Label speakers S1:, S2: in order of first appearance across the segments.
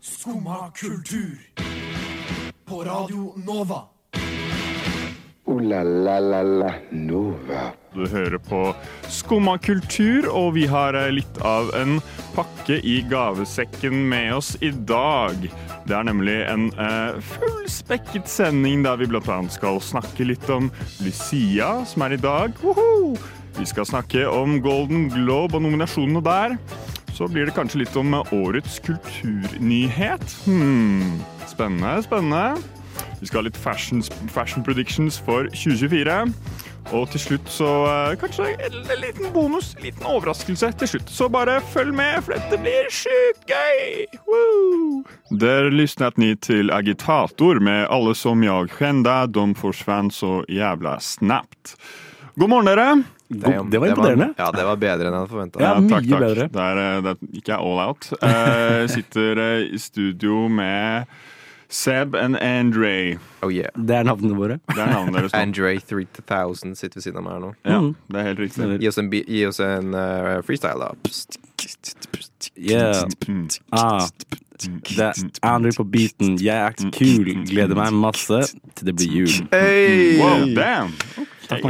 S1: Skumma kultur. På Radio Nova.
S2: Ooh la la la la Nova.
S3: Du hører på Skumma kultur, og vi har eh, litt av en pakke i gavesekken med oss i dag. Det er nemlig en eh, fullspekket sending der vi bl.a. skal snakke litt om Lucia, som er i dag. Woho! Vi skal snakke om Golden Globe og nominasjonene der. Så blir det kanskje litt om eh, årets kulturnyhet. Hmm. Spennende, spennende. Vi skal ha litt fashions, fashion predictions for 2024. Og til slutt så eh, kanskje en liten bonus, en liten overraskelse til slutt. Så bare følg med, for dette blir sjukt gøy! Woo! Der lysnet ni til Agitator med alle som jag kjente, de forsvant så jævla snapt. God morgen, dere.
S4: God, det var imponerende.
S5: ja, det var bedre enn jeg hadde forventa.
S4: Ja,
S3: Eh,
S4: mye bedre.
S3: Det er, eh, det er ikke all out. Eh, sitter eh, i studio med Seb and Andre.
S5: Oh yeah.
S4: Det er navnene våre.
S3: Det er navnet deres nå.
S5: Andre 3000 sitter ved siden av meg her nå.
S3: Ja, det er helt riktig.
S4: Eh. Mm.
S5: Gi oss en, bi- gi oss en eh, freestyle, da. Pst.
S4: Yeah.
S3: Mm.
S4: Ah, det er Andrew på beaten. Jeg er kul. Gleder meg masse til det blir jul.
S5: Hey!
S3: Wow, damn!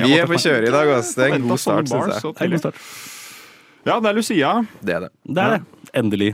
S5: Vi er på kjøret i dag, ass. Det er en
S3: Venta
S5: god
S3: sånne
S5: start,
S3: bars
S5: syns jeg.
S3: så
S4: Det er en
S3: tidlig.
S4: god start.
S3: Ja, det er Lucia.
S5: Det er det.
S4: Det er det. Endelig.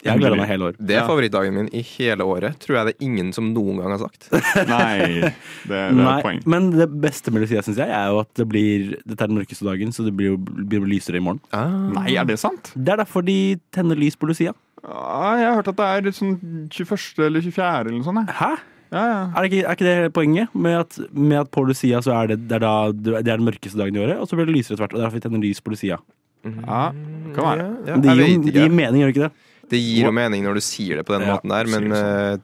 S4: Jeg har gleda meg hele år.
S5: Det er
S3: Ja.
S5: favorittdagen min i hele året. Tror jeg det er ingen som noen gang har sagt.
S3: Nei, det, det er et
S4: Nei,
S3: poeng.
S4: men det beste med Lucia, syns jeg, er jo at det blir Dette er den mørkeste dagen, så det blir jo blir jo lysere i morgen.
S5: Ah.
S3: Nei, er det sant?
S4: Det er derfor de tenner lys på Lucia.
S3: Ja, jeg har hørt at det er sånn 21. eller 24. eller noe sånt. jeg.
S4: Hæ?
S3: Ja, ja.
S4: Er, det ikke, er ikke det hele poenget? Med at, med at på Lucia så er det, det, er da, det er den mørkeste dagen i året, og så blir det lysere etter hvert. Og det er derfor vi tenner lys på
S3: ja
S4: Lucia.
S3: kan
S5: Ja,
S3: være.
S5: ja,
S4: Det gir
S5: jeg
S4: jo
S5: vet
S4: det gir
S5: ikke.
S4: mening, gjør det ikke det?
S5: Det gir jo mening når du sier det på den
S4: Ja, sånn.
S5: måten der, men
S3: sier
S5: eh,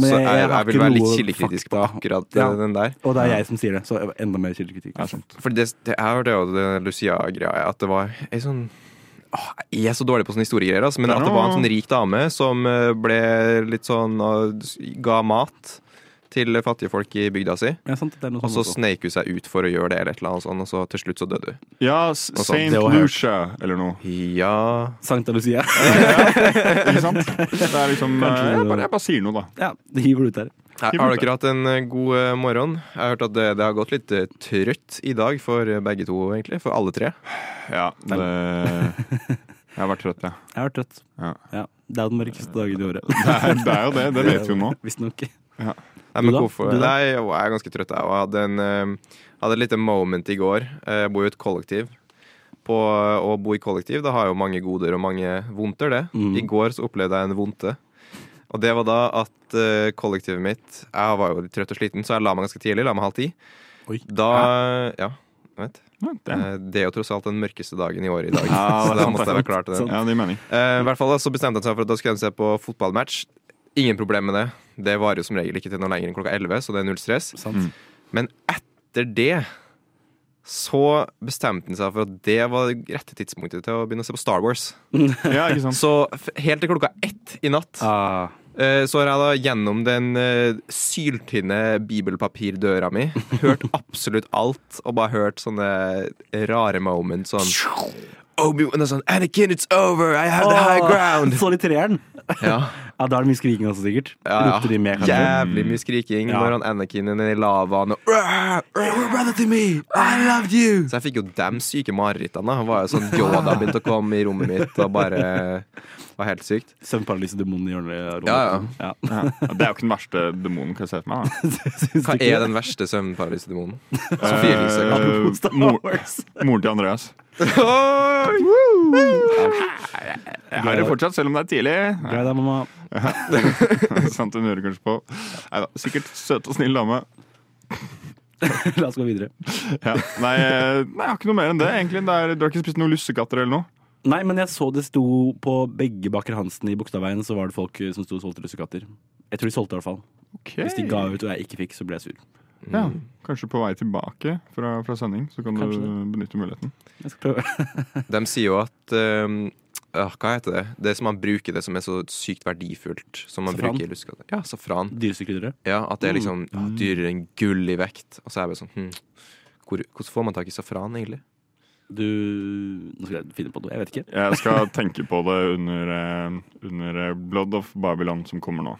S5: så jeg, jeg,
S4: har
S5: vil
S4: ikke
S5: være litt
S4: noe
S5: kildekritisk på
S4: fakta.
S5: akkurat eh,
S4: Ja.
S5: den der.
S4: Og det er jeg som sier det, så enda mer liksom. kildekritikk.
S3: Det er sant.
S5: For det, det jeg hørte jo det Lucia-greia, at det var ei sånn Åh, Jeg er så dårlig på sånne historiegreier, altså, men
S3: Ja.
S5: at det var en sånn rik dame som eh, ble litt sånn og s- Ga mat til fattige folk i bygda si,
S4: Ja, sant, det er noe
S5: og
S4: sånt
S5: så
S4: også.
S5: sneik hun seg ut for å gjøre det, eller et eller annet sånt, og så til slutt så døde hun.
S3: Ja, S-
S5: Og sånn,
S3: Saint
S5: det har jeg hørt.
S3: Lucia eller noe.
S5: Ja
S4: Sankta Lucia.
S3: Ikke sant? Det er liksom eh,
S4: Kanskje det
S3: Jeg
S4: var-
S3: bare, jeg bare sier noe, da.
S4: ja, det hiver du ut der.
S5: Her, Har dere hatt en eh, god eh, morgen? Jeg har hørt at det, det har gått litt eh, trøtt i dag for eh, begge to, egentlig. For alle tre.
S3: Ja, det Jeg har vært trøtt, jeg.
S4: Jeg har vært trøtt.
S3: Ja.
S4: Ja, det er den mørkeste dagen i året.
S3: Det, er- det er jo det. Det vet vi jo nå.
S4: Visstnok.
S5: Nei, men
S4: Du da?
S5: hvorfor?
S4: Du da?
S5: Nei, jeg er ganske trøtt, jeg. Og jeg hadde, en, eh, hadde et lite moment i går. Eh, Jeg bor jo i et kollektiv. På, å bo i kollektiv det har jo mange goder og mange vondter, det.
S4: Mm.
S5: I går så opplevde jeg en vondte. Og det var da at eh, kollektivet mitt Jeg var jo litt trøtt og sliten, så jeg la meg ganske tidlig. La meg halv ti.
S4: Oi.
S5: Da Ja, jeg vet.
S3: Ja, det,
S5: Eh, Det er jo tross alt den mørkeste dagen i året i dag.
S3: Ja, det
S5: så
S3: er
S5: da
S3: sant,
S5: måtte jeg være klar til det.
S3: ja, det gir mening.
S5: Eh, I hvert fall da, så bestemte han seg for at da skulle han se på fotballmatch. Ingen problem med det. Det varer jo som regel ikke til noe lenger enn klokka 11, så det er null stress.
S4: Sant.
S3: Mm.
S5: Men etter det så bestemte han seg for at det var det rette tidspunktet til å begynne å se på Star Wars.
S3: Ja, ikke sant.
S5: Så f- helt til klokka ett i natt
S4: Ah,
S5: eh, så har jeg da gjennom den eh, syltynne bibelpapirdøra mi hørt absolutt alt, og bare hørt sånne rare moments sånn Obi-Wan er sånn Anakin, it's over! I have the high
S4: Åh,
S5: ground!
S4: Så de treeren.
S5: Ja
S4: Ja, da er det mye skriking også, sikkert.
S5: Ja,
S4: Ropte de med,
S5: ja.
S4: kanskje.
S5: Jævlig mye skriking
S4: Ja.
S5: når han Anakin er nede i lavaen og "Rah, rah, rah." Så jeg fikk jo dem syke marerittene. da. Han var jo sånn Yoda begynte å komme i rommet mitt og bare var helt sykt.
S4: Søvnparalysedemonen i hjørnet. av rommet.
S5: Ja,
S4: ja.
S3: Ja, det er jo ikke den verste demonen kan jeg se for meg. Da.
S4: Syns du
S5: Hva
S4: ikke
S5: er
S4: det?
S5: den verste søvnparalysedemonen? Sofie Elise.
S3: Eh,
S4: Apropos Star
S3: mor-
S4: Wars.
S3: Moren til Andreas. Jeg har det fortsatt, selv om det er tidlig.
S4: Grei deg, mamma.
S3: Sant hun hører kanskje på. Neida, sikkert søt og snill dame.
S4: La oss gå videre.
S3: Ja. Nei, eh, nei, jeg har ikke noe mer enn det. egentlig. Det er, du har ikke spist noen lussekatter eller noe?
S4: Nei, men jeg så det sto på begge Baker Hansen i Bogstadveien, så var det folk eh, som sto og solgte lussekatter. Jeg tror de solgte, i hvert fall.
S3: Okay.
S4: Hvis de ga ut og jeg ikke fikk, så ble jeg sur.
S5: Mm.
S3: Ja, Kanskje på vei tilbake fra, fra sending, så kan
S4: Kanskje
S3: du benytte muligheten.
S4: Jeg skal prøve.
S5: De sier jo at ehm, ah, Hva heter det? Det som man bruker det som er så sykt verdifullt. Som man
S4: Safran.
S5: bruker i luskader. Ja, safran.
S4: Dyreste krydderet.
S5: Ja, At det er liksom ja, hmm, dyrere enn gull i vekt. Og så er jeg bare sånn hm, hvor, Hvordan får man tak i safran, egentlig?
S4: Du Nå skal jeg finne på noe. Jeg vet ikke.
S3: Jeg skal tenke på det under, eh, under eh, Blood of Babylon som kommer nå.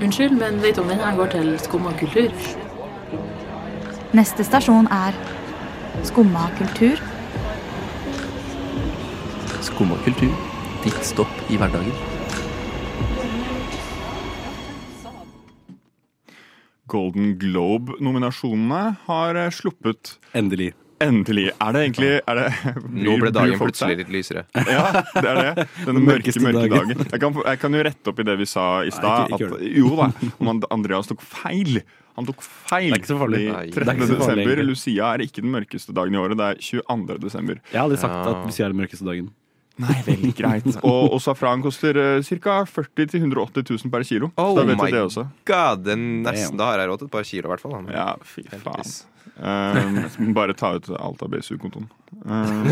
S6: Unnskyld, men vet du om den her går til skum og kultur?
S7: Neste stasjon er Skumma kultur.
S8: Skumma kultur. Ditt stopp i hverdagen.
S3: Golden Globe-nominasjonene har eh, sluppet.
S4: Endelig.
S3: Endelig. Er det egentlig er det,
S5: Nå ble
S3: blir- blir
S5: dagen
S3: folk seg?
S5: plutselig litt lysere.
S3: Ja, det er det. Denne mørke,
S4: mørkeste
S3: mørke
S4: dagen.
S3: dagen. Jeg kan, jeg kan jo rette opp i det vi sa i stad.
S4: ikke- ikke gjør
S3: at- Jo da, om han- Andreas tok feil. Han tok feil.
S4: Det er ikke så farlig.
S3: Fordi
S5: Nei. Det
S4: er ikke
S3: 13.
S4: så farlig,
S3: desember,
S4: egentlig.
S3: Lucia er ikke den mørkeste dagen i året. Det er 22. desember.
S4: Jeg har aldri sagt at Lucia er den mørkeste dagen.
S3: Nei, veldig greit. Og, og safran koster uh, ca. 40 000-180 000 per kilo.
S5: Oh
S3: så da vet
S5: my
S3: du det også.
S5: God, den nesten, da har jeg råd til et par kilo, i hvert fall. da.
S3: Ja, fy faen.
S5: Heldigvis.
S3: Um, jeg må bare ta ut alt av BSU-kontoen. Um,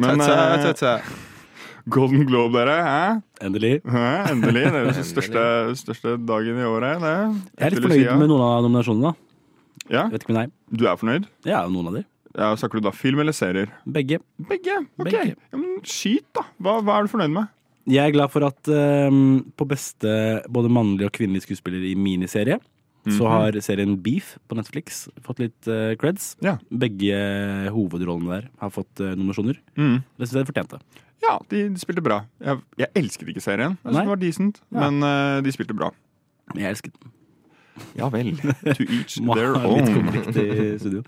S3: men
S5: Tø, tø,
S3: eh,
S5: tø, tø.
S3: Golden Globe, dere. Hæ?
S4: Endelig.
S3: Hæ, endelig. Det er den største, største dagen i året. Det.
S4: Jeg er litt fornøyd med noen av nominasjonene. da
S3: Ja,
S4: Jeg vet ikke om nei.
S3: Du er fornøyd?
S4: Ja, noen av de.
S3: Ja, Snakker du da film eller serier?
S4: Begge.
S3: Begge. ok.
S4: Begge.
S3: Ja, men Skyt, da. Hva, hva er du fornøyd med?
S4: Jeg er glad for at ehm, på beste både mannlig og kvinnelig skuespiller i miniserie, så har serien Beef på Netflix fått litt eh, creds.
S3: Ja.
S4: Begge hovedrollene der har fått eh, nominasjoner.
S3: Mm.
S4: Det syns jeg de fortjente.
S3: Ja, de, de spilte bra. Jeg, jeg elsket ikke serien. Jeg synes
S4: Nei.
S3: den var decent, men eh, de spilte bra.
S4: Jeg elsket den.
S3: Ja vel. To each
S4: Må
S3: their
S4: ha litt
S3: own.
S4: konflikt i studio.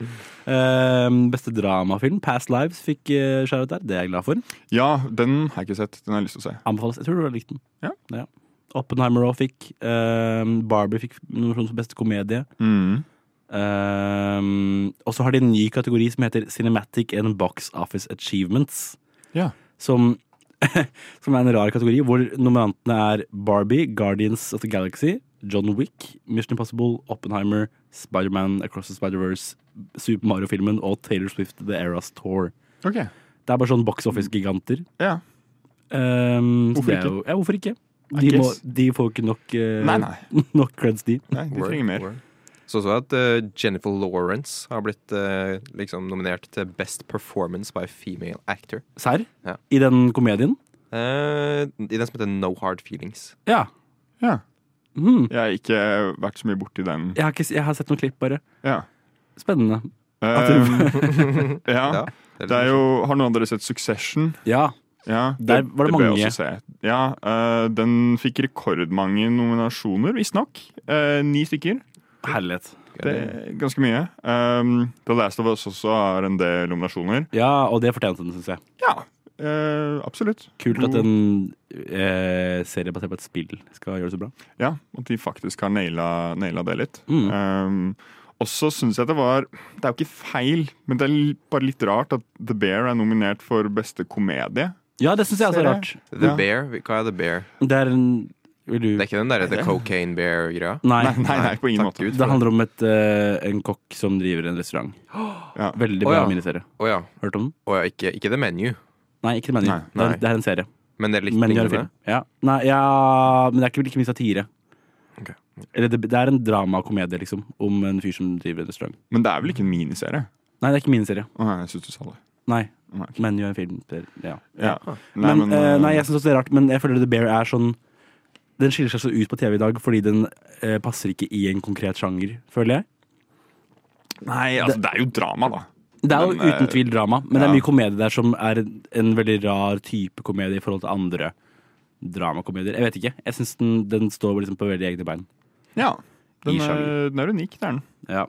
S4: Ehm, beste dramafilm, Past Lives, fikk uh, skjær ut der. Det er jeg glad for.
S3: Ja, den har jeg ikke sett. Den har jeg lyst til å se.
S4: Anbefales. Jeg tror du har likt den.
S3: Ja.
S4: Oppenheimer også fikk. ehm, Barbie fikk nominasjon for beste komedie.
S3: Mm.
S4: Ehm, og så har de en ny kategori som heter Cinematic and Box Office Achievements.
S3: Ja.
S4: Som, som er en rar kategori, hvor nominantene er Barbie, Guardians of the Galaxy, John Wick, Mission Impossible, Oppenheimer, Spiderman Across the Spider-Verse, Super Mario-filmen og Taylor Swift The Eras Tour.
S3: Ok.
S4: Det er bare sånn box office-giganter.
S3: Ja.
S4: Ehm, så
S3: Hvorfor
S4: det er
S3: ikke?
S4: Jo, ja, hvorfor ikke?
S3: I
S4: De, må,
S3: guess.
S4: de får ikke nok, eh,
S3: Nei, nei.
S4: nok creds, de.
S3: nei de
S5: Word,
S3: trenger mer.
S5: word. Så så jeg at eh, Jennifer Lawrence har blitt eh, liksom nominert til Best Performance by Female Actor.
S4: Serr?
S5: Ja.
S4: I den komedien?
S5: Eh, I den som heter No Hard Feelings.
S4: Ja.
S3: Ja.
S4: Mhm.
S3: Jeg har ikke vært så mye borti den.
S4: Jeg har, ikke, jeg har sett noen klipp, bare.
S3: Ja.
S4: Spennende.
S3: Um, ja.
S5: Ja,
S3: Det
S5: liksom-
S3: er jo, har noen av dere sett Succession?
S4: Ja.
S3: Ja,
S4: Der var det
S3: bør jeg
S4: mange.
S3: også se. Ja, eh, den fikk rekordmange nominasjoner, visstnok. Uh, ni stykker.
S4: Herlighet.
S3: Det er ganske mye. Um, The Last of Us også har en del nominasjoner.
S4: Ja, og det fortjente den, syns jeg.
S3: Ja, eh, absolutt.
S4: Kult at en eh, serie basert på et spill skal gjøre det så bra.
S3: Ja, at de faktisk har naila, naila det litt.
S4: Mm.
S3: Um, også syns jeg det var Det er jo ikke feil, men det er l- bare litt rart at The Bear er nominert for beste komedie.
S4: Ja, det syns jeg også er
S3: Serie.
S4: rart.
S5: The
S3: Ja.
S5: Bear? Hva er The Bear?
S4: Det er en Vil du
S5: Det er ikke den derre The Cocaine Bear-greia?
S4: Nei.
S3: Nei, nei, nei på ingen
S5: Takk
S3: måte.
S5: Gud
S4: Det
S5: for det.
S4: handler om et, eh, en kokk som driver en restaurant.
S3: Ja.
S4: Veldig
S5: Å,
S4: bra
S5: ja.
S4: miniserie.
S5: Å ja.
S4: Hørt om den?
S5: Å ja, ikke, ikke The Menu,
S4: Nei, ikke det mener
S3: Nei,
S4: jeg. Det er-
S5: nei.
S4: Det er en serie.
S5: men det er litt
S4: Men de har en
S5: lignende.
S4: film. Ja. Nei, ja, men det er ikke like mye satire.
S5: Ok.
S4: Eller det, det er en dramakomedie, liksom, om en fyr som driver en restaurant.
S3: Men det er vel ikke en miniserie?
S4: Nei, det er ikke miniserie.
S3: Å, nei, jeg syns du sa det.
S4: Nei.
S3: Nei, ok.
S4: Men jo, en film. det- Ja.
S3: Ja.
S4: Men, nei,
S3: eh,
S4: nei, jeg synes også det er rart, men jeg føler The Bear er sånn Den skiller seg så ut på TV i dag fordi den eh, passer ikke i en konkret sjanger, føler jeg.
S3: Nei, altså, det er jo drama, da.
S4: Det er jo
S3: Men, eh,
S4: uten tvil drama, men det er
S3: ja.
S4: mye komedie der som er en, en veldig rar type komedie i forhold til andre dramakomedier. Jeg vet ikke. Jeg syns den, den står liksom på veldig egne bein.
S3: Ja. Den
S4: I
S3: er,
S4: sjanger.
S3: den er unik, det er den.
S4: Ja.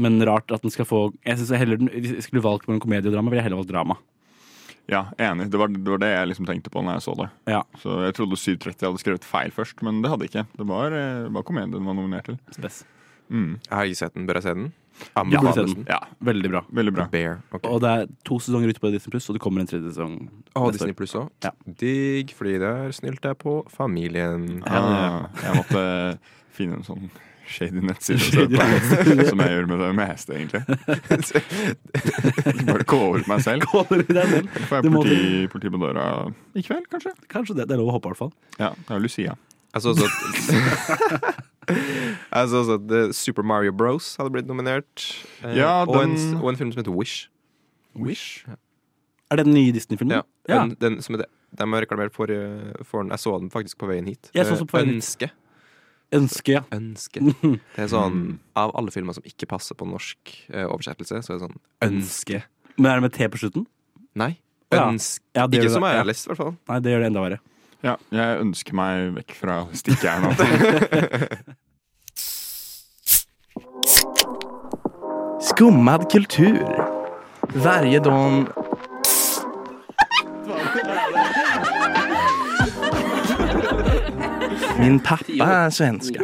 S4: Men rart at den skal få Jeg synes heller den, Hvis jeg skulle valgt mellom komedie og drama, ville jeg heller valgt drama.
S3: Ja, enig. Det var, det var det jeg liksom tenkte på når jeg så det.
S4: Ja,
S3: Så Jeg trodde 730 hadde skrevet feil først, men det hadde ikke. Det var, eh, var komedien den var nominert til.
S4: spes.
S3: Mm.
S5: Jeg har ikke sett den. Bør jeg se den?
S4: Du burde se
S5: Anbefales
S4: den.
S3: Ja,
S4: Veldig bra.
S3: Veldig bra.
S5: The Bear. ok.
S4: Og det er to sesonger ute på Disney Pluss, og det kommer en tredje sesong.
S5: Å,
S4: neste år.
S5: Disney Pluss òg.
S4: Ja.
S5: Digg, fordi der snylte jeg på familien.
S3: Ah, jeg måtte finne en sånn shady nettside, å se på, som jeg gjør med det meste, egentlig. Bare kåre meg selv.
S4: Kåler i deg selv.
S3: Får jeg
S4: Det må
S3: politi, politi på døra i kveld, kanskje?
S4: Kanskje det. Det er lov å håpe, i hvert fall.
S3: Ja, det er jo Lucia.
S5: Jeg så også at Jeg så også at eh, Super Mario Bros hadde blitt nominert. eh,
S3: Ja,
S5: og, en,
S3: den-
S5: og en film som heter Wish.
S4: Wish? Er det den nye Disney-filmen?
S5: Ja, Den, den som er det. De har reklamert for, eh, for den. Jeg så den faktisk på veien hit.
S4: Jeg så også på
S5: Eh,
S4: veien hit.
S5: Ønske.
S4: Ønske, ja.
S5: Ønske. Det er sånn, Av alle filmer som ikke passer på norsk eh, oversettelse, så er det sånn Ønske.
S4: Men er det med T på slutten?
S5: Nei.
S4: Ja.
S5: Ønske.
S4: Ja, det gjør
S5: Ikke som
S4: det,
S5: jeg
S4: ja.
S5: har lest, i hvert fall.
S4: Nei, det gjør det enda verre.
S3: Ja, jeg ønsker meg vekk fra stikkejernet.
S8: Skummad kultur. Varje dag... Min pappa är svenska.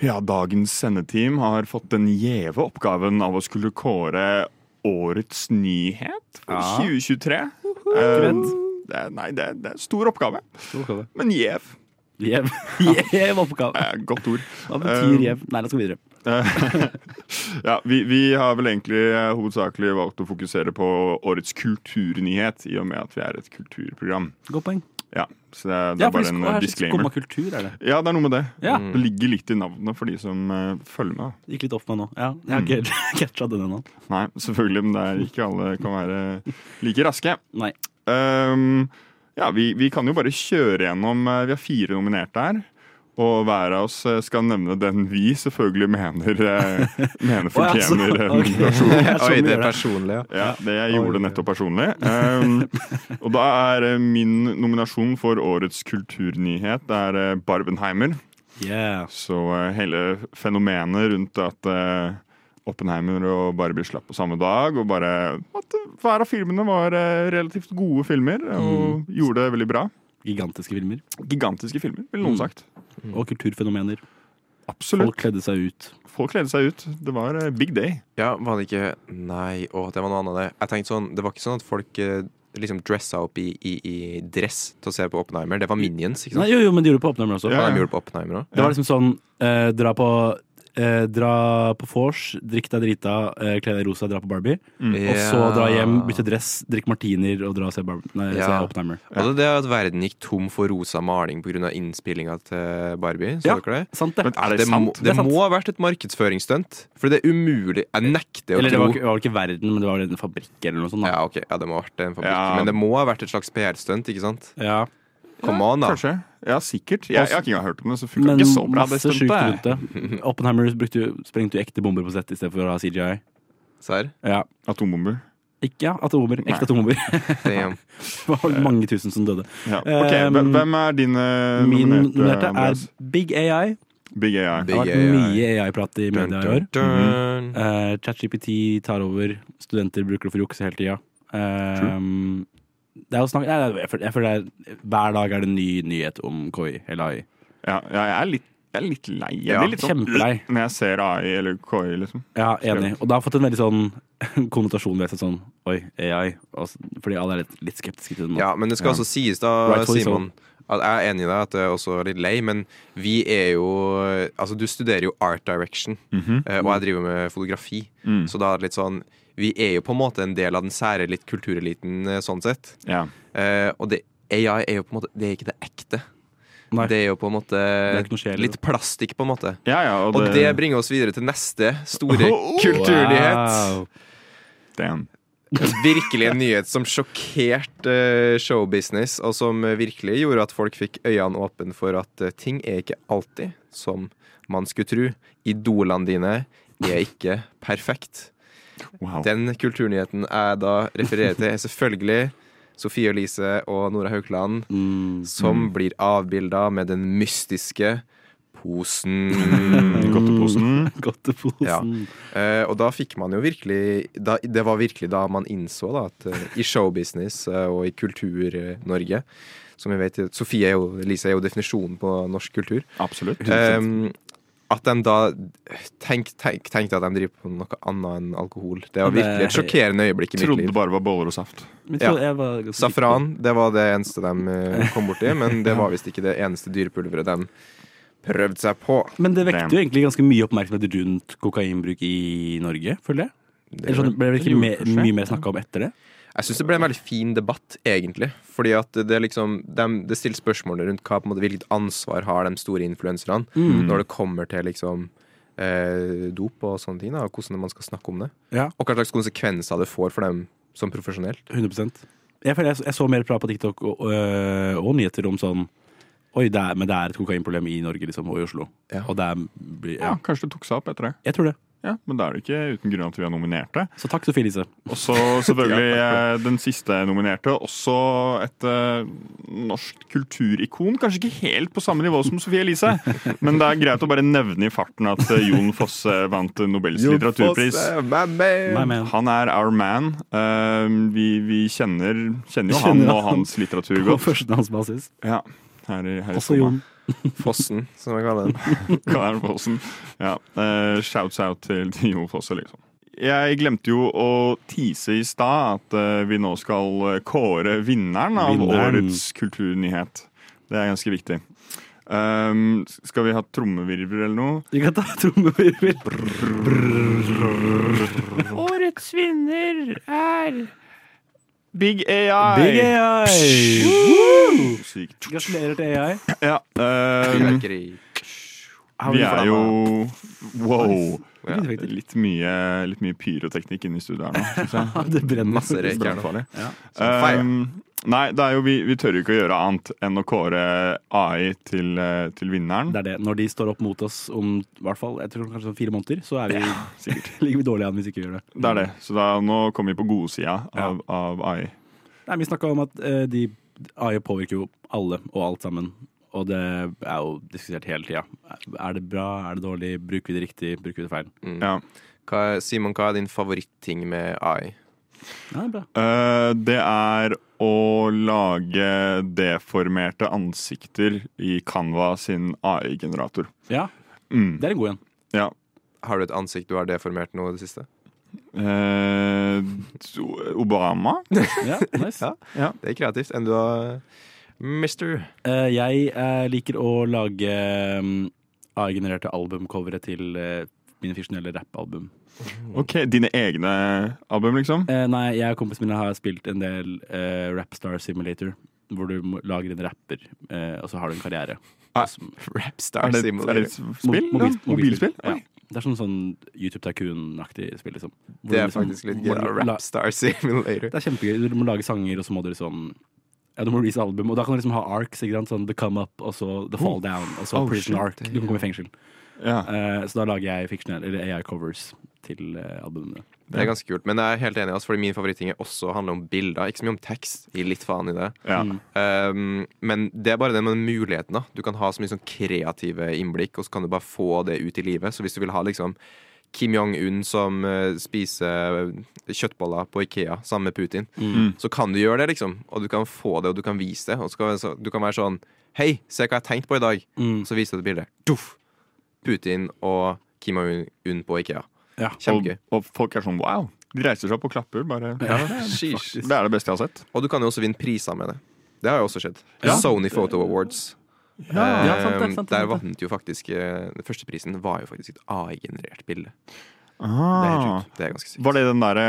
S3: Ja, dagens sendeteam har fått den gjeve oppgaven av å skulle kåre årets nyhet for 2023. Eh, det, er- nei, det, er- det er en stor oppgave, men gjev.
S4: Gjev. Gjev oppgave.
S3: er et Godt ord.
S4: Hva betyr
S3: Eh,
S4: gjev? Nei, la oss gå videre.
S3: ja, vi, vi har vel egentlig eh, hovedsakelig valgt å fokusere på årets kulturnyhet, i og med at vi er et kulturprogram.
S4: Godt poeng.
S3: Ja, så det, er- det er
S4: Ja, for
S3: bare en
S4: det
S3: eh,
S4: er
S3: disclaimer.
S4: skumma kultur, er det.
S3: Ja, det er noe med det.
S4: Ja.
S3: Det ligger litt i navnet for de som eh, følger med. da.
S4: Det Gikk litt opp meg nå. Ja, jeg har ikke catcha den ennå.
S3: Nei, selvfølgelig, men det er ikke alle kan være like raske.
S4: Nei.
S3: Ehm, ja, vi, vi kan jo bare kjøre gjennom eh, Vi har fire nominerte her. Og hver av oss eh, skal nevne den vi selvfølgelig mener, eh, mener
S4: Å, ja, så-
S3: fortjener eh,
S4: ok.
S3: nominasjon.
S5: Oi,
S4: Jeg skjønner
S5: det
S4: det.
S5: er personlig, ja.
S3: Ja, det jeg gjorde nettopp personlig. Ehm, og da er eh, min nominasjon for årets kulturnyhet det er eh, Barbenheimer.
S4: Yeah.
S3: Så eh, hele fenomenet rundt at eh, Oppenheimer og Barbie slapp på samme dag, og bare at eh, hver av filmene var eh, relativt gode filmer
S4: Mm.
S3: og gjorde det veldig bra.
S4: Gigantiske filmer.
S3: Gigantiske filmer, ville noen sagt.
S4: Og kulturfenomener.
S3: Absolutt.
S4: Mm. Folk kledde seg ut.
S3: Folk kledde seg ut. Det var eh, big day.
S5: ja. Var det ikke Nei, å, det var noe annet, det. Jeg tenkte sånn, Det var ikke sånn at folk eh, liksom dressa opp i, i, i dress til å se på Oppenheimer. Det var Minions, ikke sant?
S4: Nei, jo, jo, men de gjorde det på Oppenheimer også.
S3: Ja.
S5: Hva de gjorde på Oppenheimer også.
S4: Det var liksom sånn eh, dra på eh, Dra på vors, drikk deg drita, eh, kle deg i rosa, dra på Barbie. Mm. Og så
S5: Ja.
S4: dra hjem, bytte dress, drikke martinier og dra og se, Barbie, nei, se
S5: Ja.
S4: Oppenheimer.
S5: Og det at verden gikk tom for rosa maling pga. innspillinga til Barbie. Så
S4: Ja.
S5: dere det?
S4: Sant, det.
S3: Men er det,
S5: må,
S3: sant?
S5: det,
S4: Det er sant.
S5: må ha vært et markedsføringsstunt. For det er umulig. Jeg nekter å
S4: Eller det var,
S5: tro
S4: ikke- var vel ikke verden, men det var vel en fabrikk eller noe sånt. Da.
S5: ja, ok, ja, det må ha vært en fabrikk.
S3: Ja.
S5: Men det må ha vært et slags PR-stunt, ikke sant?
S4: Ja.
S5: Come on, da.
S3: Kanskje. Ja, sikkert. Jeg, jeg har ikke engang hørt om det, så funka
S4: Men
S3: ikke så bra. det
S4: masse sjukt rundt
S3: stuntet.
S4: det. Oppenheimer brukte, jo- sprengte jo ekte bomber på sett i stedet for å ha CGI.
S5: Serr?
S4: Ja.
S3: Atombomber.
S4: Ikke ja, atomer. Ekte atomer.
S5: Damn.
S4: Det var mange tusen som døde.
S3: Ja. Ok, hve-
S4: Um,
S3: Hvem er dine
S4: Min
S3: nominerte,
S4: nominerte er
S3: Andreas?
S4: Big AI.
S3: Big AI.
S4: Det har
S5: Big
S4: vært
S5: AI.
S4: mye AI-prat i
S5: Dun,
S4: media i
S5: dun,
S4: år.
S5: dun.
S4: Eh, ChatGPT tar over. Studenter bruker det for å jukse hele tida. Eh, det er jo snakk Nei, jeg føler, jeg føler det er, hver dag er det en ny nyhet om KI eller AI.
S3: Ja, ja, jeg er litt jeg er litt lei. Jeg
S5: Ja,
S3: blir litt sånn
S4: kjempelei.
S3: når jeg ser AI eller KI, liksom.
S4: Ja, enig. Og det har fått en veldig sånn konnotasjon ved seg. Sånn oi, AI. Og så- Fordi alle er litt, litt skeptiske til det nå.
S5: Ja, men det skal også sies, da,
S4: Rightfully so.
S5: Simon. At jeg er enig i deg at det er også litt lei, men vi er jo Altså, du studerer jo art direction,
S4: Mhm.
S5: eh, og jeg driver med fotografi.
S4: Mm.
S5: Så da er det litt sånn Vi er jo på en måte en del av den sære litt kultureliten eh, sånn sett.
S3: Ja.
S5: Eh, og det, AI er jo på en måte Det er ikke det ekte.
S4: Nei.
S5: Det er jo på en
S4: er ikke noe
S5: måte
S4: sjel i
S5: litt plastikk, på en måte.
S3: ja, ja, og
S5: Og
S3: det,
S5: det bringer oss videre til neste store
S3: Oh,
S5: kulturnyhet.
S3: Damn.
S5: Virkelig en nyhet som sjokkerte eh, showbusiness, og som eh, virkelig gjorde at folk fikk øynene åpne for at eh, ting er ikke alltid som man skulle tro. Idolene dine er ikke perfekt.
S3: Wow.
S5: Den kulturnyheten jeg da refererer til, er selvfølgelig Sofie Elise og Nora Haukeland, som blir avbilda med den mystiske posen.
S3: Godteposen.
S4: Godteposen.
S5: Ja. Eh, og da fikk man jo virkelig da, Det var virkelig da man innså da, at eh, i showbusiness eh, og i Kultur-Norge Som vi vet, Sofie er jo, Lise er jo definisjonen på norsk kultur.
S3: Absolutt.
S5: eh, at de da tenk, tenk, tenkte at de driver på noe annet enn alkohol. Det var
S4: Ja, det-
S5: virkelig et sjokkerende øyeblikk i mitt
S3: Trodde det
S5: liv.
S3: bare var boller og saft.
S4: Men jeg
S5: Ja.
S4: tror jeg var ganske
S5: Safran det var det eneste de eh, kom borti, men det var visst ikke det eneste dyrepulveret de prøvde seg på.
S4: Men det
S3: Damn.
S4: vekte jo egentlig ganske mye oppmerksomhet rundt kokainbruk i Norge, føler jeg. Eller sånn, ble det ikke
S3: gjorde
S4: mer-
S3: kanskje.
S4: mye mer snakka om etter det?
S5: Jeg syns det ble en veldig fin debatt, egentlig. Fordi at det er liksom dem- Det stilles spørsmål rundt hva, på en måte, hvilket ansvar har de store influenserne
S4: Mm.
S5: når det kommer til liksom eh, dop og sånne ting, da, og hvordan man skal snakke om det.
S4: Ja.
S5: Og hva slags konsekvenser det får for dem som profesjonelt.
S4: 100 Jeg føler jeg, jeg så mer prat på TikTok og, øh, og nyheter om sånn Oi, det er, men det er et kokainproblem i Norge liksom, og i Oslo.
S5: Ja.
S4: Og det er, blir- ja,
S3: Ja, kanskje det tok seg opp etter det.
S4: jeg tror det.
S3: Ja, Men da er det ikke uten grunn at vi har nominert det.
S4: Så takk, Sofie Elise.
S3: Og så selvfølgelig eh, den siste nominerte, også et eh, norsk kulturikon. Kanskje ikke helt på samme nivå som Sofie Elise, men det er greit å bare nevne i farten at eh, Jon Fosse vant Nobels litteraturpris.
S5: eh,
S4: Nei,
S5: litteraturpris.
S4: men,
S3: Han er our man. Eh, vi vi kjenner, kjenner jo
S4: Kjenner
S3: han og
S4: han.
S3: hans litteratur
S4: på
S3: godt.
S4: førstehåndsbasis.
S3: Ja, her i, her i
S4: Også Jon.
S5: Fossen, som jeg kaller den.
S3: Karen Fossen. Ja. eh, shouts out til til Jon Fosse, liksom. Jeg glemte jo å tease i stad at eh, vi nå skal eh, kåre vinneren av
S4: Vinneren.
S3: årets kulturnyhet. Det er ganske viktig. Um, skal vi ha trommevirvel eller noe?
S4: Vi kan ta trommevirvel.
S3: Årets vinner er Big AI.
S4: Big AI!
S3: Sykt.
S4: Gratulerer til AI.
S3: Ja, um,
S5: Fyrverkeri.
S3: vi er jo Wow.
S5: Ja.
S3: Litt mye, litt mye pyroteknikk inne i studioet her nå. Synes jeg.
S4: Det brenner
S5: liksom. Masse røyk her nå.
S3: Brannfarlig.
S4: Ja.
S5: Sånn, feil.
S3: Um, nei, det er jo, vi, vi tør jo ikke å gjøre annet enn å kåre AI til, eh, til vinneren.
S4: Det er det. Når de står opp mot oss om i hvert fall, jeg tror kanskje sånn fire måneder, så er vi,
S3: sikkert.
S4: ligger vi dårlig an hvis ikke vi gjør det.
S3: Det er det. Så da, nå kommer vi på godsida av, av AI.
S4: Nei, Vi snakka om at eh, de AI påvirker jo alle og alt sammen. Og det er jo diskutert hele tida. Er det bra, er det dårlig, bruker vi det riktig, bruker vi det feil?
S3: Ja.
S5: Hva, er- Simon, hva er din favoritting med AI?
S4: Ja, det er bra.
S3: Eh, det er å lage deformerte ansikter i Canva sin AI-generator.
S4: Ja,
S3: Mm.
S4: det er en god en.
S3: Ja.
S5: Har du et ansikt du har deformert nå i det siste?
S3: Eh, Obama?
S4: Ja, nice.
S5: Ja. Det er kreativt. Enn du har eh, Mister.
S4: Eh, jeg eh, liker å lage mm, AI-genererte albumcovere til eh, mine fiksjonelle rappalbum.
S3: Ok, Dine egne album, liksom?
S4: Eh, nei, jeg og kompisene mine har spilt en del eh, Rapstar Simulator. Hvor du må- lager en rapper, eh, og så har du en karriere.
S3: Ah,
S4: Som-
S5: Rapstar
S3: Er det, er det
S5: Simulator.
S3: et spill?
S4: Mobil-
S3: ja? Mobilspill?
S4: Ja.
S3: Oi.
S4: Det er sånn, sånn YouTube Tycoon-aktig spill, liksom. Hvor
S5: Det
S4: du
S5: er
S4: liksom-
S5: faktisk litt
S4: hvor
S5: gøy.
S4: du la-
S5: Rapstar Simulator.
S4: Det er kjempegøy. Du må lage sanger, og så må du liksom ja, du må release album, og da kan du liksom ha arcs. ikke sant? Sånn The Come Up, og så The Fall Down, og så
S3: Oh,
S4: Prison
S3: shit.
S4: Arc. Du kan komme i fengsel.
S3: Ja.
S4: Eh, så da lager jeg fiksjonelle, eller AI-covers til eh, albumene.
S5: Det er ganske kult. Men jeg er helt enig, altså, fordi min favoritting er også handler om bilder. Ikke så mye om tekst. Gir litt faen i det.
S3: ja.
S5: Um, men det er bare den med den muligheten. da Du kan ha så mye sånn kreative innblikk, og så kan du bare få det ut i livet. Så hvis du vil ha liksom Kim Jong-un som eh, spiser eh, kjøttboller på Ikea sammen med Putin, så kan du gjøre det, liksom. Og du kan få det, og du kan vise det. Og så kan, så, du kan være sånn Hei, se hva jeg har tenkt på i dag. Så viser du et bilde. Duff! Putin og Kim Jong-un på Ikea.
S4: Ja.
S3: Og,
S5: Kjempegøy.
S3: og folk er sånn wow. De reiser seg opp og klapper. bare
S5: Sheesh.
S3: Det er det beste jeg har sett.
S5: Og du kan jo også vinne priser med det. Det har jo også skjedd.
S4: Ja.
S5: Sony Photo Awards.
S4: Ja, ja,
S5: Eh,
S4: sant det, sant det,
S5: Der
S4: sant det.
S5: vant jo faktisk eh, Den første prisen var jo faktisk et AI-generert bilde. Det er, helt
S3: Ah.
S5: sjukt. det er ganske sykt.
S3: Var det den derre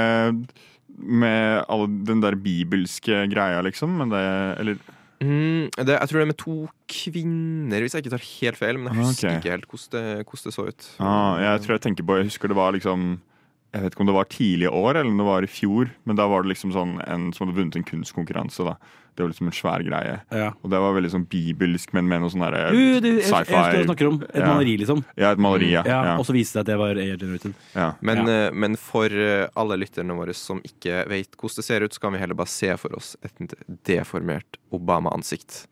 S3: med alle, den der bibelske greia, liksom? Men det, eller
S5: Mm, det? Jeg tror det er med to kvinner, hvis jeg ikke tar helt feil. Men jeg husker
S3: Ah, Ok.
S5: ikke helt hvordan det, hvordan det så ut.
S3: ah, Jeg tror jeg tenker på Jeg husker det var liksom Jeg vet ikke om det var tidlig i år, eller om det var i fjor. Men da var det liksom sånn en som hadde vunnet en kunstkonkurranse. da Det var liksom en svær greie.
S4: Ja.
S3: Og det var veldig sånn bibelsk, men med noe sånn derre
S4: Du, du, jeg, jeg husker hva du
S3: sci-fi
S4: snakker om. Et
S3: Ja.
S4: maleri, liksom.
S3: Ja, et maleri, ja.
S4: Ja,
S3: ja,
S4: Og så viste det seg at det var AI-generated.
S3: ja.
S5: Men,
S4: Ja.
S5: eh, men for eh, alle lytterne våre som ikke vet hvordan det ser ut, så kan vi heller bare se for oss et deformert Obama-ansikt.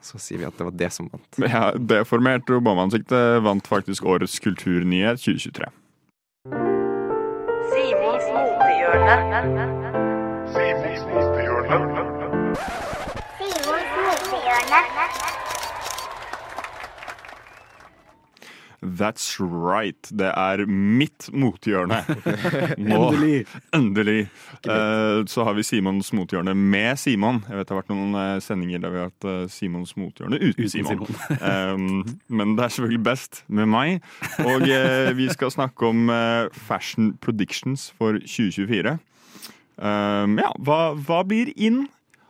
S5: Så sier vi at det var det som vant.
S3: Ja, Deformert Obama-ansiktet vant faktisk årets kulturnyhet 2023.
S9: Simons motehjørne. Simons motehjørne.
S3: That's right. Det er mitt motehjørne. Nå,
S4: Endelig.
S3: endelig. Eh, så har vi Simons motehjørne med Simon. Jeg vet Det har vært noen eh, sendinger der vi har hatt eh, Simons motehjørne uten,
S4: Uten
S3: Simon.
S4: Simon.
S3: Em, men det er selvfølgelig best med meg. Og eh, vi skal snakke om eh, fashion predictions for 2024. Ehm, ja, hva, hva blir inn?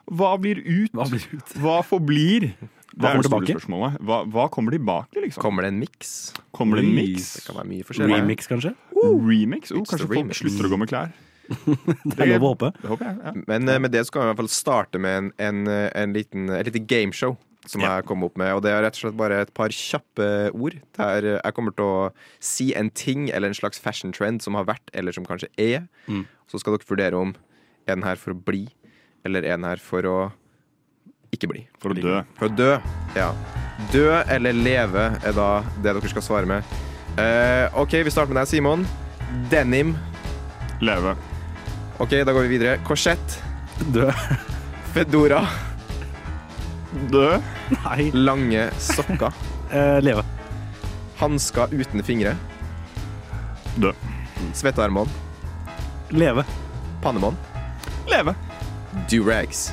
S3: Hva blir ut?
S4: Hva blir ut?
S3: Hva forblir?
S4: Hva
S3: det er det
S4: kommer
S3: store
S4: tilbake?
S3: spørsmålet. Hva, hva kommer tilbake, liksom?
S5: Kommer det en miks?
S3: Kommer det en
S4: Ui,
S3: mix?
S5: Det kan være mye forskjellig.
S4: Remix, kanskje?
S3: Remix? Oh,
S5: It's the
S3: kanskje folk
S5: remix.
S3: slutter å gå med klær.
S4: Det er lov å håpe.
S3: Det håper jeg. ja.
S5: Men eh, med det så kan vi i hvert fall starte med en, en, eh, en liten, et lite gameshow som jeg kom opp med. Og det er rett og slett bare et par kjappe ord. Der eh, jeg kommer til å si en ting eller en slags fashion trend som har vært, eller som kanskje er. Så skal dere vurdere om er den her for å bli, eller er den her for å ikke bli.
S3: For å dø.
S5: For å dø. Ja. Dø eller leve er da det dere skal svare med. Eh, OK, vi starter med deg, Simon. Denim.
S3: Leve.
S5: OK, da går vi videre. Korsett.
S4: Dø.
S5: Fedora.
S3: Dø.
S4: Nei.
S5: Lange sokker.
S4: Eh, leve.
S5: Hansker uten fingre.
S3: Dø.
S5: Svettearmene.
S4: Leve.
S5: Pannemann.
S3: Leve.
S5: Durags.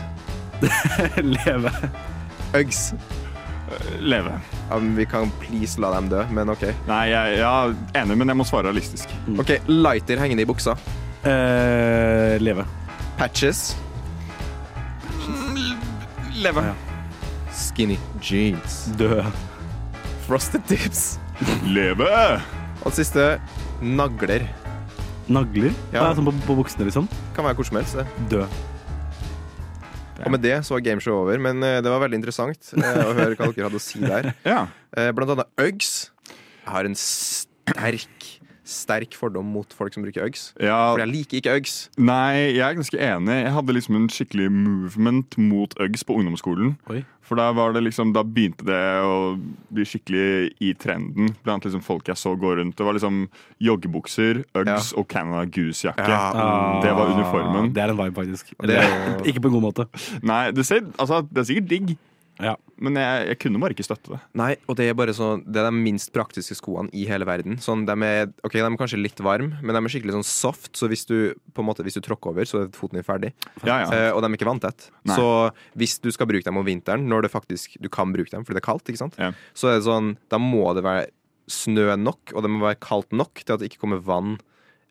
S4: leve.
S5: Uggs.
S3: Leve.
S5: Ja, men vi kan please la dem dø, men OK.
S3: Nei, jeg, ja, enig, men jeg må svare realistisk.
S5: Ok, Lighter hengende i buksa.
S4: Eh, leve.
S5: Patches.
S3: Leve.
S5: Skinny jeans.
S4: Dø.
S5: Frosted tips.
S3: Leve!
S5: Og det siste nagler.
S4: Nagler.
S5: Ja.
S4: Ja. Sånn på, på buksene, liksom.
S5: Kan være hvor som helst. det.
S4: Dø.
S5: Og med det så var gameshowet over, men eh, det var veldig interessant eh, å høre hva dere hadde å si der.
S3: Ja.
S5: Eh, Blant annet Uggs. Jeg har en sterk, sterk fordom mot folk som bruker Uggs.
S3: ja.
S5: For jeg liker ikke Uggs.
S3: Nei, jeg er ganske enig. Jeg hadde liksom en skikkelig movement mot Uggs på ungdomsskolen.
S4: Oi.
S3: For da, var det liksom, da begynte det å bli skikkelig i trenden blant liksom folk jeg så gå rundt. Det var liksom joggebukser, Uggs og Canada Goose-jakke.
S5: Ja.
S3: Det var uniformen.
S4: Ah. Det er en vibe, faktisk.
S5: det er
S4: Eller, ikke på en god måte.
S3: Nei, det, ser, altså, det er sikkert digg,
S4: Ja.
S3: men jeg, jeg kunne bare ikke støtte det.
S5: Nei, og det er bare sånn Det er de minst praktiske skoene i hele verden. Sånn, de, er, ok, de er kanskje litt varme, men de er skikkelig sånn soft, så hvis du på en måte, hvis du tråkker over, så er foten din ferdig.
S3: Ja, ja.
S5: Eh, og de er ikke vanntett.
S3: Nei.
S5: Så hvis du skal bruke dem om vinteren, når det faktisk, du kan bruke dem fordi det er kaldt, ikke sant?
S3: Ja.
S5: så er det sånn, da må det være snø nok, og det må være kaldt nok til at det ikke kommer vann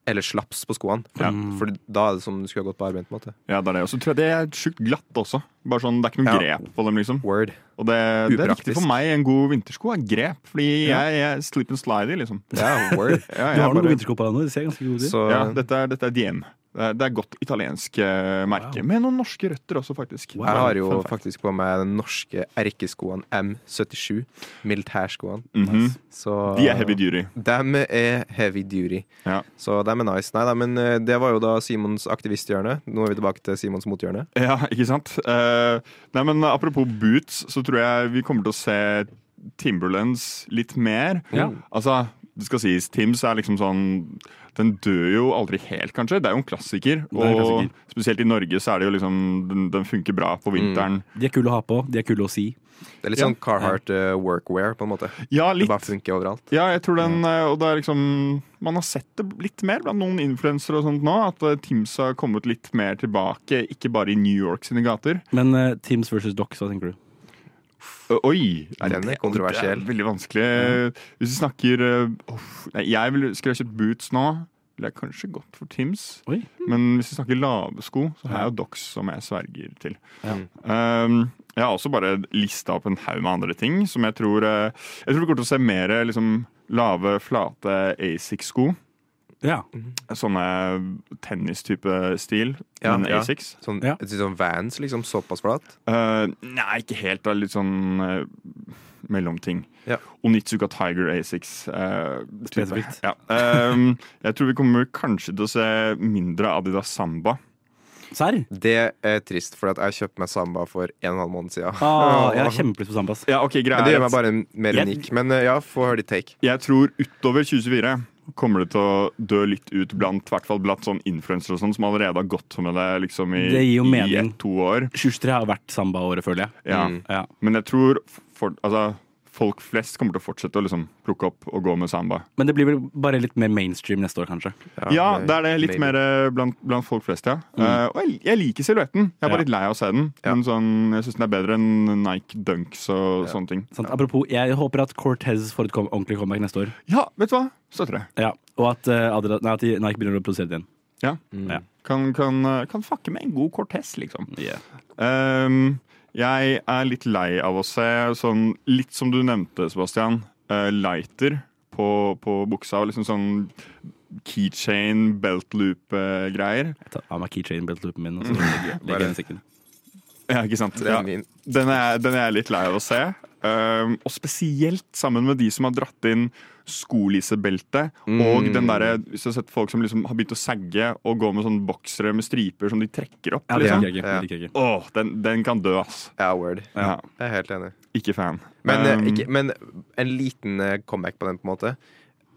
S5: eller slaps på skoene. For,
S3: Ja.
S5: for da er det som om du skulle ha gått på arbeid. på en måte.
S3: ja, det er det. Og så tror jeg det er sjukt glatt også. Bare sånn, Det er ikke noe
S5: Ja.
S3: grep på dem, liksom.
S5: Word.
S3: Og det, det er viktig
S5: Upraktisk.
S3: for meg. En god vintersko er grep, fordi jeg, jeg slip and slide, liksom.
S5: Ja, word.
S3: Ja, jeg
S4: Du har noen
S3: bare-
S4: vintersko på deg nå. De ser ganske gode ut.
S5: Så,
S3: Ja, dette er, dette er DM. Det er, det er godt italiensk eh, merke, med noen norske røtter også, faktisk.
S5: Jeg har jo
S3: Fun fact.
S5: faktisk på meg den norske erkeskoene M77. Militærskoene.
S3: Mhm.
S5: Så
S3: De er heavy duty.
S5: Dem er heavy duty.
S3: Ja.
S5: Så dem er nice. Nei da, men eh, det var jo da Simons aktivisthjørne. Nå er vi tilbake til Simons mothjørne.
S3: ja, ikke sant? Eh, nei, men Apropos boots, så tror jeg vi kommer til å se Timberlands litt mer.
S4: Ja.
S3: Altså, det skal sies, Tims er liksom sånn Den dør jo aldri helt, kanskje. Det er jo en klassiker.
S4: er en
S3: og
S4: klassiker.
S3: spesielt i Norge så er det jo liksom Den, den funker bra på vinteren.
S4: De er kule å ha på. De er kule å si.
S5: Det er litt sånn Carhartt eh, workwear, på en måte.
S3: Ja,
S5: Det
S3: litt.
S5: bare funker overalt.
S3: Ja, jeg tror den, eh, og det er liksom Man har sett det litt mer blant noen influensere og sånt nå. At eh, Tims har kommet litt mer tilbake, ikke bare i New York sine gater.
S4: Men eh, Teams versus Docs, hva tenker du?
S3: Ø, Oi!
S5: Er den
S3: det-
S5: kontroversiell?
S3: Det er veldig vanskelig. Hvis vi snakker eh, uff, nei, jeg ville- Skulle jeg kjøpt boots nå, ville jeg kanskje gått for Tims.
S4: Oi.
S3: Men hvis vi snakker lave sko, så har jeg jo Dox som jeg sverger til.
S4: Ja.
S3: Um, jeg har også bare lista opp en haug med andre ting som jeg tror eh, Jeg tror vi kommer til å se mer eh, liksom, lave, flate Asics-sko.
S4: Ja.
S3: sånne tennistype stil,
S5: Ja,
S3: men
S5: ja.
S3: Asics.
S5: Sånn,
S4: Ja.
S5: et sånn Vans, liksom. Såpass flat.
S3: Eh, nei, ikke helt. da, Litt sånn eh, mellomting.
S5: Ja.
S3: Onitsuka Tiger Asics. eh, type.
S4: Spesifikt.
S3: Ja. Ehm, jeg tror vi kommer kanskje til å se mindre Adidas Samba.
S4: Serr?
S5: Det er trist, for at jeg kjøpte meg Samba for en og en halv måned siden.
S4: Ah, jeg har kjempelyst på Sambas.
S3: Ja, ok,
S5: men
S3: greia
S5: det
S3: er
S5: gjør meg
S3: at
S5: bare mer
S4: Jeg-
S5: unik. Men eh, ja, få høre ditt take.
S3: jeg tror utover 2024 kommer det til å dø litt ut blant, i hvert fall blant sånn influensere og sånn, som allerede har gått med det liksom i,
S4: Det gir jo
S3: i
S4: mening.
S3: ett-to år.
S4: 23 har vært Samba-året, føler jeg. Mm.
S3: Ja.
S4: Ja.
S3: Men jeg tror for, altså, folk flest kommer til å fortsette å liksom, plukke opp og gå med samba.
S4: Men det blir vel bare litt mer mainstream neste år, kanskje.
S3: Ja, det er det. Litt
S5: maybe.
S3: mer eh, blant, blant folk flest, ja. Eh, og jeg, jeg liker silhuetten. Jeg er bare
S4: Ja.
S3: litt lei av å se den.
S5: Ja.
S3: Men sånn, jeg syns den er bedre enn Nike Dunks og sånne ting.
S4: Sant? Apropos, jeg håper at Cortez får et kom ordentlig comeback neste år.
S3: Ja, vet du hva? Støtter det.
S4: Ja. Og at, eh, Adidas, nei, at de- Nike begynner å produsere det igjen.
S3: Ja.
S4: Ja.
S3: Kan, kan, eh, kan fucke med en god Cortez, liksom.
S4: Yeah.
S3: Ehm, jeg er litt lei av å se sånn Litt som du nevnte, Sebastian. eh, lighter på, på buksa og liksom sånn keychain, eh, belt loop-greier.
S4: Jeg tar av meg keychain beltloopen min og så legger jeg- legger jeg den i sekken.
S3: Ja, ikke sant? Ja.
S5: er min.
S3: Den, er, den er jeg litt lei av å se. Ehm, og spesielt sammen med de som har dratt inn skolisebeltet.
S5: Mm.
S3: Og den derre Hvis du har sett folk som liksom har begynt å sagge og gå med sånne boksere med striper som de trekker opp.
S4: Ja, det
S3: liksom.
S4: liker jeg ikke. Det liker jeg ikke.
S3: Åh, den, den kan dø, ass.
S5: Ja, word.
S3: Ja.
S5: Jeg er helt enig.
S3: Ikke fan.
S5: Men, eh,
S3: Ehm,
S5: ikke, men en liten eh, comeback på den, på en måte.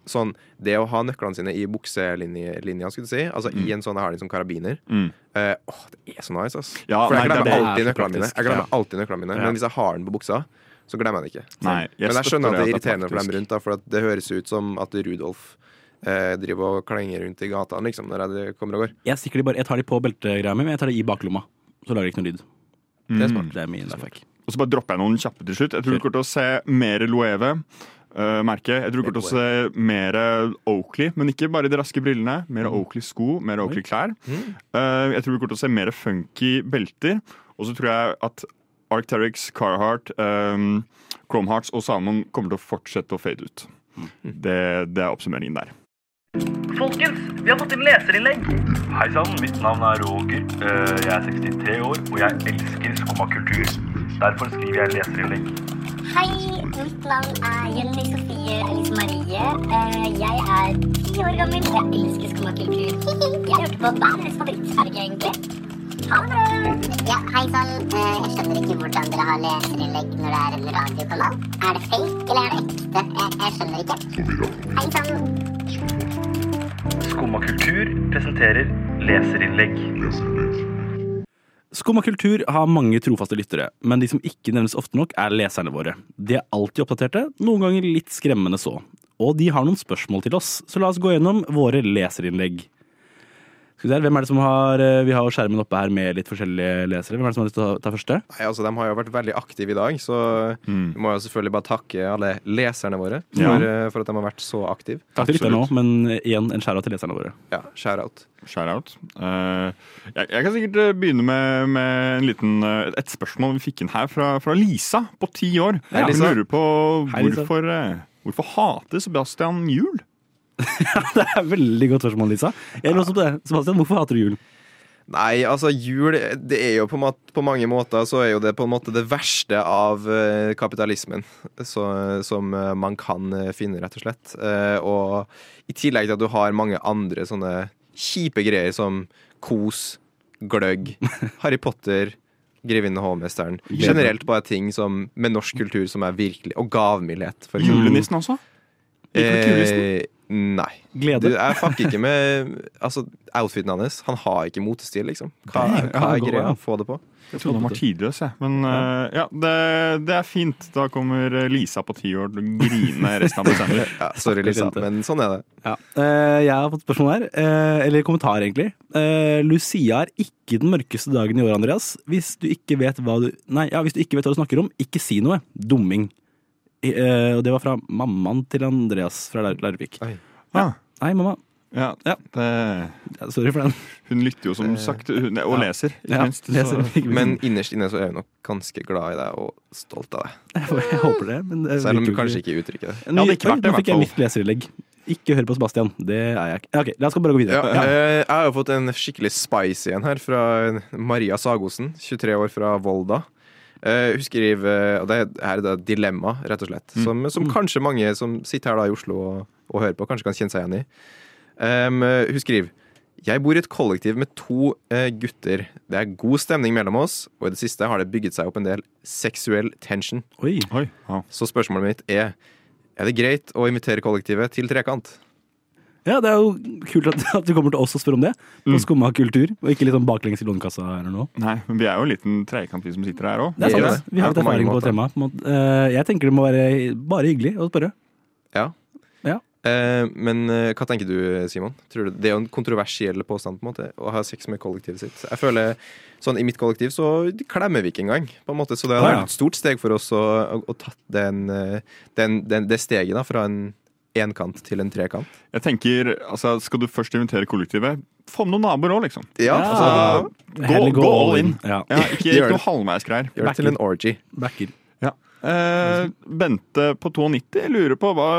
S5: Sånn, det å ha nøklene sine i bukselinja, skulle du si, altså i en sånn jeg har de som karabiner
S3: Mm.
S5: eh, Åh, det er så nice, ass.
S3: Ja,
S5: For
S3: nei,
S5: jeg
S3: det-
S5: glemmer
S4: det er
S5: alltid
S4: så
S5: nøklene mine.
S4: praktisk,
S5: Jeg glemmer
S4: ja.
S5: alltid nøklene mine
S4: Ja.
S5: Men hvis jeg har den på buksa, så glemmer jeg den ikke.
S3: Nei, jeg
S5: men jeg
S3: støtter
S5: skjønner
S3: det
S5: at det er
S3: at det er
S5: irriterende for
S3: praktisk.
S5: dem rundt, da, for at det høres ut som at Rudolf eh, driver og klenger rundt i gata liksom, når jeg kommer og går.
S4: Jeg, stikker de bare, jeg tar de på beltegreia mi, men jeg tar de i baklomma. Så lager de ikke noe lyd. Mm.
S3: Mm.
S5: Det er smart.
S4: Det er min lifehack.
S3: Og så bare dropper jeg noen kjappe til slutt. Jeg tror du kommer til å se mer Loeve. eh, merke. Jeg tror du kommer til å se mer eh, Oakley, men ikke bare i de raske brillene. Mer Oakley-sko, mer Oakley-klær. Eh, jeg tror du kommer til å se mer funky belter. Og så tror jeg at Arcteryx, Carhartt, um, Chromehearts og Salmon kommer til å fortsette å fade ut. Det, det er oppsummeringen der.
S10: Folkens, vi har fått inn leserinnlegg. Hei sann, mitt navn er Roger. Eh, Jeg er 63 år, og jeg elsker skummakultur. Derfor skriver jeg leserinnlegg.
S9: Hei, mitt navn er Jenny Sofie Elise Marie. Eh, Jeg er ti år gammel, og jeg elsker skomakultur. Jeg hørte på hva er deres favorittfarge, egentlig? Ha det bra! Ja, hei sann. Eh, Jeg skjønner ikke hvordan dere har leserinnlegg når det er en radiokanal. Er det fake, eller er det ekte? Jeg, skjønner ikke. Hei sann.
S10: Skummakultur presenterer leserinnlegg.
S4: Skum og kultur har mange trofaste lyttere, men de som ikke nevnes ofte nok, er leserne våre. De er alltid oppdaterte, noen ganger litt skremmende så. Og de har noen spørsmål til oss, så la oss gå gjennom våre leserinnlegg. Skal vi se her, hvem er det som har, eh, Vi har jo skjermen oppe her med litt forskjellige lesere. Hvem er det som har lyst til å ta ta første?
S5: Nei, altså, De har jo vært veldig aktive i dag, så
S4: Mm.
S5: vi må jo selvfølgelig bare takke alle leserne våre for,
S3: Ja.
S5: eh, for at de har vært så aktive.
S4: Takk til lytterne òg, men igjen en skjæra til leserne våre.
S5: Ja, shout-out.
S3: Shout-out. Eh, jeg, jeg kan sikkert eh, begynne med, med en liten, eh, et spørsmål vi fikk inn her fra, fra Lisa på ti år.
S5: Hei,
S3: Hun
S5: Lisa.
S3: lurer på
S4: Hei, Lisa.
S3: hvorfor, eh, hvorfor hater Sebastian jul?
S4: Det er veldig godt spørsmål, Lisa. Jeg lurer også på det. Sebastian, hvorfor hater du jul?
S5: Nei, altså jul Det er jo på, mat, på mange måter så er jo det på en måte det verste av eh, kapitalismen så, som eh, man kan eh, finne, rett og slett. Eh, og i tillegg til at du har mange andre sånne kjipe greier som kos, gløgg, Harry Potter, Grevinnen og hovmesteren. Generelt bare ting som, med norsk kultur som er virkelig Og gavmildhet,
S4: Mm.
S5: for eksempel.
S3: Julenissen også? Liker du ikke julenissen?
S5: Eh, nei.
S4: Glede.
S5: Du, jeg fucker ikke med altså, outfiten hans. Han har ikke motestil, liksom. Hva,
S4: Nei,
S5: hva
S4: han
S5: er
S4: går,
S5: greia?
S4: ja.
S5: Få det på.
S3: Jeg trodde han var tidløs, jeg. Men eh, ja, det, det er fint. Da kommer eh, Lisa på ti år til å grine resten av desember.
S5: Ja, sorry, Lisa,
S4: jente.
S5: men sånn er det.
S4: Ja. eh, jeg har fått spørsmål her, eh, eller kommentar egentlig. Eh, Lucia er ikke den mørkeste dagen i året, Andreas. Hvis du ikke vet hva du Nei, ja, hvis du ikke vet hva du snakker om, ikke si noe. Dumming. I- eh, og det var fra mammaen til Andreas fra Lar- Larvik.
S5: Oi.
S4: Ja. Nei, mamma.
S3: Ja,
S4: Ja.
S3: det,
S4: Ja, Sorry for den.
S3: hun lytter jo, som sagt, hun, og leser, ikke
S4: Eh, Ja,
S3: minst.
S4: det
S3: Så.
S4: ser vi ikke
S5: Men
S4: men,
S5: innerst inne så er jeg nok ganske glad i deg og stolt av deg.
S4: jeg, håper det. Men det
S5: Selv om du
S4: virker
S5: kanskje ikke uttrykker det.
S4: Nå-
S3: hadde ikke
S4: Oi,
S3: vært det, i hvert
S4: Nå fikk jeg
S3: fall.
S4: mitt leserinnlegg. Ikke hør på Sebastian. Det er jeg ikke. Ok, La oss bare gå
S5: Ja,
S4: videre.
S5: eh, jeg har jo fått en skikkelig spicy en her fra Maria Sagosen, 23 år fra Volda. Eh, Hun skriver Og det her er da et dilemma, rett og slett, som, som kanskje mange som sitter her da i Oslo og, og hører på, kanskje kan kjenne seg igjen i. Em, eh, hun skriver Jeg bor i et kollektiv med to eh, gutter. Det er god stemning mellom oss, og i det siste har det bygget seg opp en del seksuell tension.
S4: Oi.
S3: Oi, ja.
S5: Så spørsmålet mitt er Er det greit å invitere kollektivet til trekant?
S4: Ja, det er jo kult at, at du kommer til oss og spør om det.
S5: Mm.
S4: På skumma kultur, og ikke litt sånn baklengs i lånekassa eller noe.
S3: Nei, men vi er jo en liten trekant, vi som sitter her òg.
S4: Det er
S5: Vi gjør
S4: sant.
S5: det.
S4: Vi har
S5: Ja,
S4: litt
S5: på mange
S4: erfaring på
S5: måter.
S4: temaet. på en måte. Eh, Jeg tenker det må være bare hyggelig å spørre.
S5: Ja.
S4: Ja.
S5: Eh, men eh, hva tenker du, Simon? Tror du, det er jo en kontroversiell påstand på en måte å ha sex med kollektivet sitt. Jeg føler sånn I mitt kollektiv så klemmer vi ikke engang. på en måte Så det hadde
S4: Ah, ja.
S5: vært et stort steg for oss å, å, å tatt den, eh, den, den, det steget da fra en enkant til en trekant.
S3: Jeg tenker, altså, Skal du først invitere kollektivet, få med noen naboer òg, liksom.
S5: Ja, altså,
S3: Gå,
S4: Heller
S3: gå all in.
S4: Ja.
S3: Ja, ikke
S5: Gjør
S3: ikke
S5: det.
S3: noe halvveisgreier.
S5: Gjør det til en orgy.
S4: Backer.
S3: Ja. Eh, Bente på 92 lurer på hva,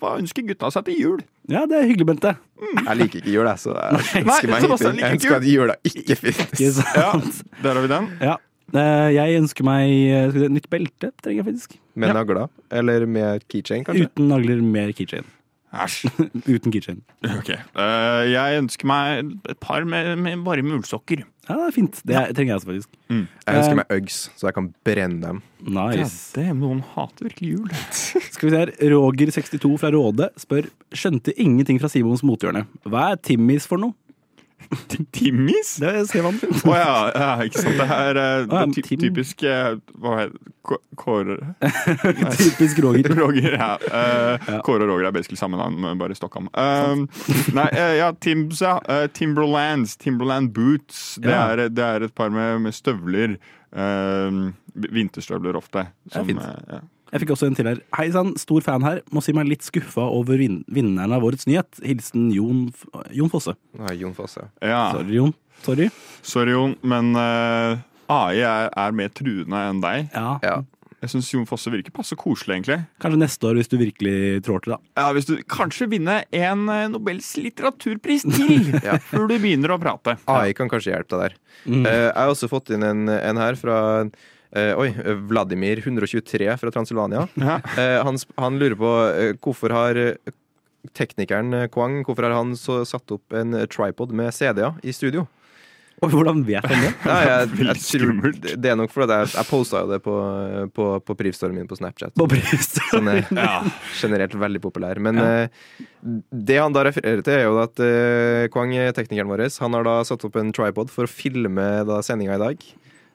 S3: hva ønsker gutta seg til jul?
S4: Ja, det er hyggelig, Bente.
S5: Jeg liker ikke jul, jeg, så jeg
S3: Nei,
S5: ønsker meg
S3: Sebastian liker
S5: ingenting.
S3: ikke
S5: Jeg ønsker at jula ikke
S4: Ikke
S5: finnes.
S4: sant?
S3: Der har vi den.
S4: Ja. Eh, Jeg ønsker meg eh, skal vi si, nytt belte, trenger jeg faktisk.
S5: Med nagler. Eller med keychain, kanskje.
S4: Uten nagler, mer keychain.
S3: Æsj.
S4: Uten keychain.
S3: Ok. Eh, jeg ønsker meg et par med, med varme ullsokker.
S4: Ja, det er fint. Det er- trenger jeg også, faktisk.
S5: Jeg ønsker meg Uggs, så jeg kan brenne dem.
S4: Nice.
S3: Ja, det, noen hater virkelig jul.
S4: Skal vi se her. Roger62 fra Råde spør skjønte ingenting fra Simons mothjørne. Hva er Timmis for noe?
S3: Timmis?
S4: Det skrev han.
S3: Å ja, ja, ikke sant. Det er eh, det
S4: ja,
S3: er ty
S4: Tim.
S3: typisk eh, Hva heter det? Kå- Kåre
S4: Typisk Roger.
S3: Roger, ja. Eh, Kåre og Roger er basically samme navn, men bare i Stockholm. Um, nei, eh, ja, Timbs, ja. Eh, Timberlands. Timberland boots. Det,
S4: Ja.
S3: er, det er et par med, med støvler. Um, vinterstøvler ofte. Som,
S4: fint.
S3: eh, ja.
S4: Jeg fikk også en til her. Hei sann, stor fan her. Må si meg litt skuffa over vin vinneren av årets nyhet. Hilsen Jon, F- Jon Fosse.
S5: Nei, Jon Fosse.
S3: Ja.
S4: Sorry, Jon. Sorry.
S3: Sorry, Jon, men eh, AI er, er mer truende enn deg.
S4: Ja.
S5: Ja.
S3: Jeg syns Jon Fosse virker passe koselig, egentlig.
S4: Kanskje neste år, hvis du virkelig trår til, da.
S3: Ja, Hvis du kanskje vinner en eh, Nobels litteraturpris til
S5: Ja.
S3: før du begynner å prate.
S5: AI kan kanskje hjelpe deg der.
S3: Mm.
S5: Eh, jeg har også fått inn en, en her fra eh, oi, Vladimir 123 fra Transilvania.
S3: Ja.
S5: Eh, han, sp- han lurer på eh, hvorfor har eh, teknikeren eh, Kwang hvorfor har han så satt opp en eh, tripod med CD-er i studio.
S4: Og hvordan vet han det?
S5: Nei, jeg,
S3: Veldig
S5: jeg tror,
S3: skummelt.
S5: det er nok fordi jeg, jeg posta jo det på, eh, på, på privstoryen min på Snapchat. Sånn, eh,
S4: På brystet.
S5: Den er
S3: Ja.
S5: generelt veldig populær. Men eh, det han da refererer til, er jo at eh, Kwang, teknikeren vår, han har da satt opp en tripod for å filme da sendinga i dag.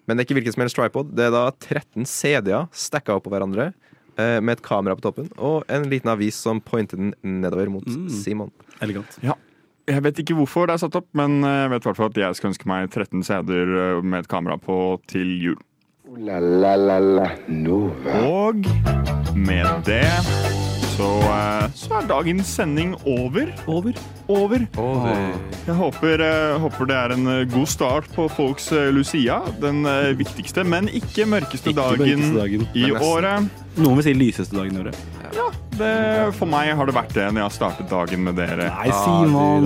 S5: Men det er ikke hvilken som helst tripod. Det er da 13 CD-er stakka opp på hverandre. eh, Med et kamera på toppen og en liten avis som pointer den nedover mot Simon.
S4: Elegant.
S3: Jeg vet ikke hvorfor det er satt opp, men eh, jeg vet i hvert fall at jeg skulle ønske meg 13 CD-er med et kamera på til jul.
S2: Ooh la la la la Nova.
S3: Og med det så, eh, så er dagens sending over.
S4: Over.
S3: Over. Jeg håper, eh, håper det er en eh, god start på folks eh, Lucia. Den eh, viktigste, men ikke mørkeste
S4: Ikke
S3: dagen,
S4: mørkeste dagen,
S3: i
S5: men nesten.
S3: året.
S4: Noen vil si lyseste dagen i året.
S3: Det, for meg har det vært det når jeg har startet dagen med dere.
S4: Nei, Simon!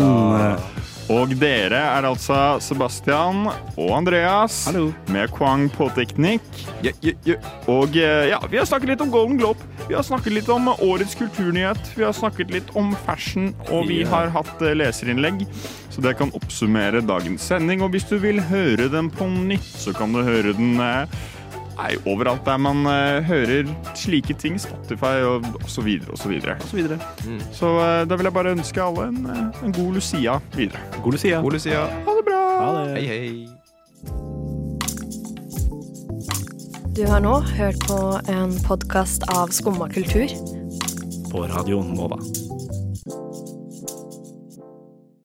S3: Og dere er altså Sebastian og Andreas
S4: Hallo.
S3: med Kwang på teknikk.
S5: Ja, ja, ja.
S3: Og eh, ja, vi har snakket litt om Golden Globe, vi har snakket litt om årets kulturnyhet, vi har snakket litt om fashion, og vi
S4: Ja.
S3: har hatt eh, leserinnlegg. Så det kan oppsummere dagens sending, og hvis du vil høre den på nytt, så kan du høre den eh, Nei, overalt der man eh, hører slike ting, Spotify og osv. osv.
S4: Og så videre.
S3: Så eh, da vil jeg bare ønske alle en, eh, en god Lucia videre.
S4: God Lucia.
S5: God Lucia.
S3: Ha det bra!
S4: Ha det.
S5: Hei, hei.
S11: Du har nå hørt på en podkast av Skumma kultur.
S4: På radioen Nova.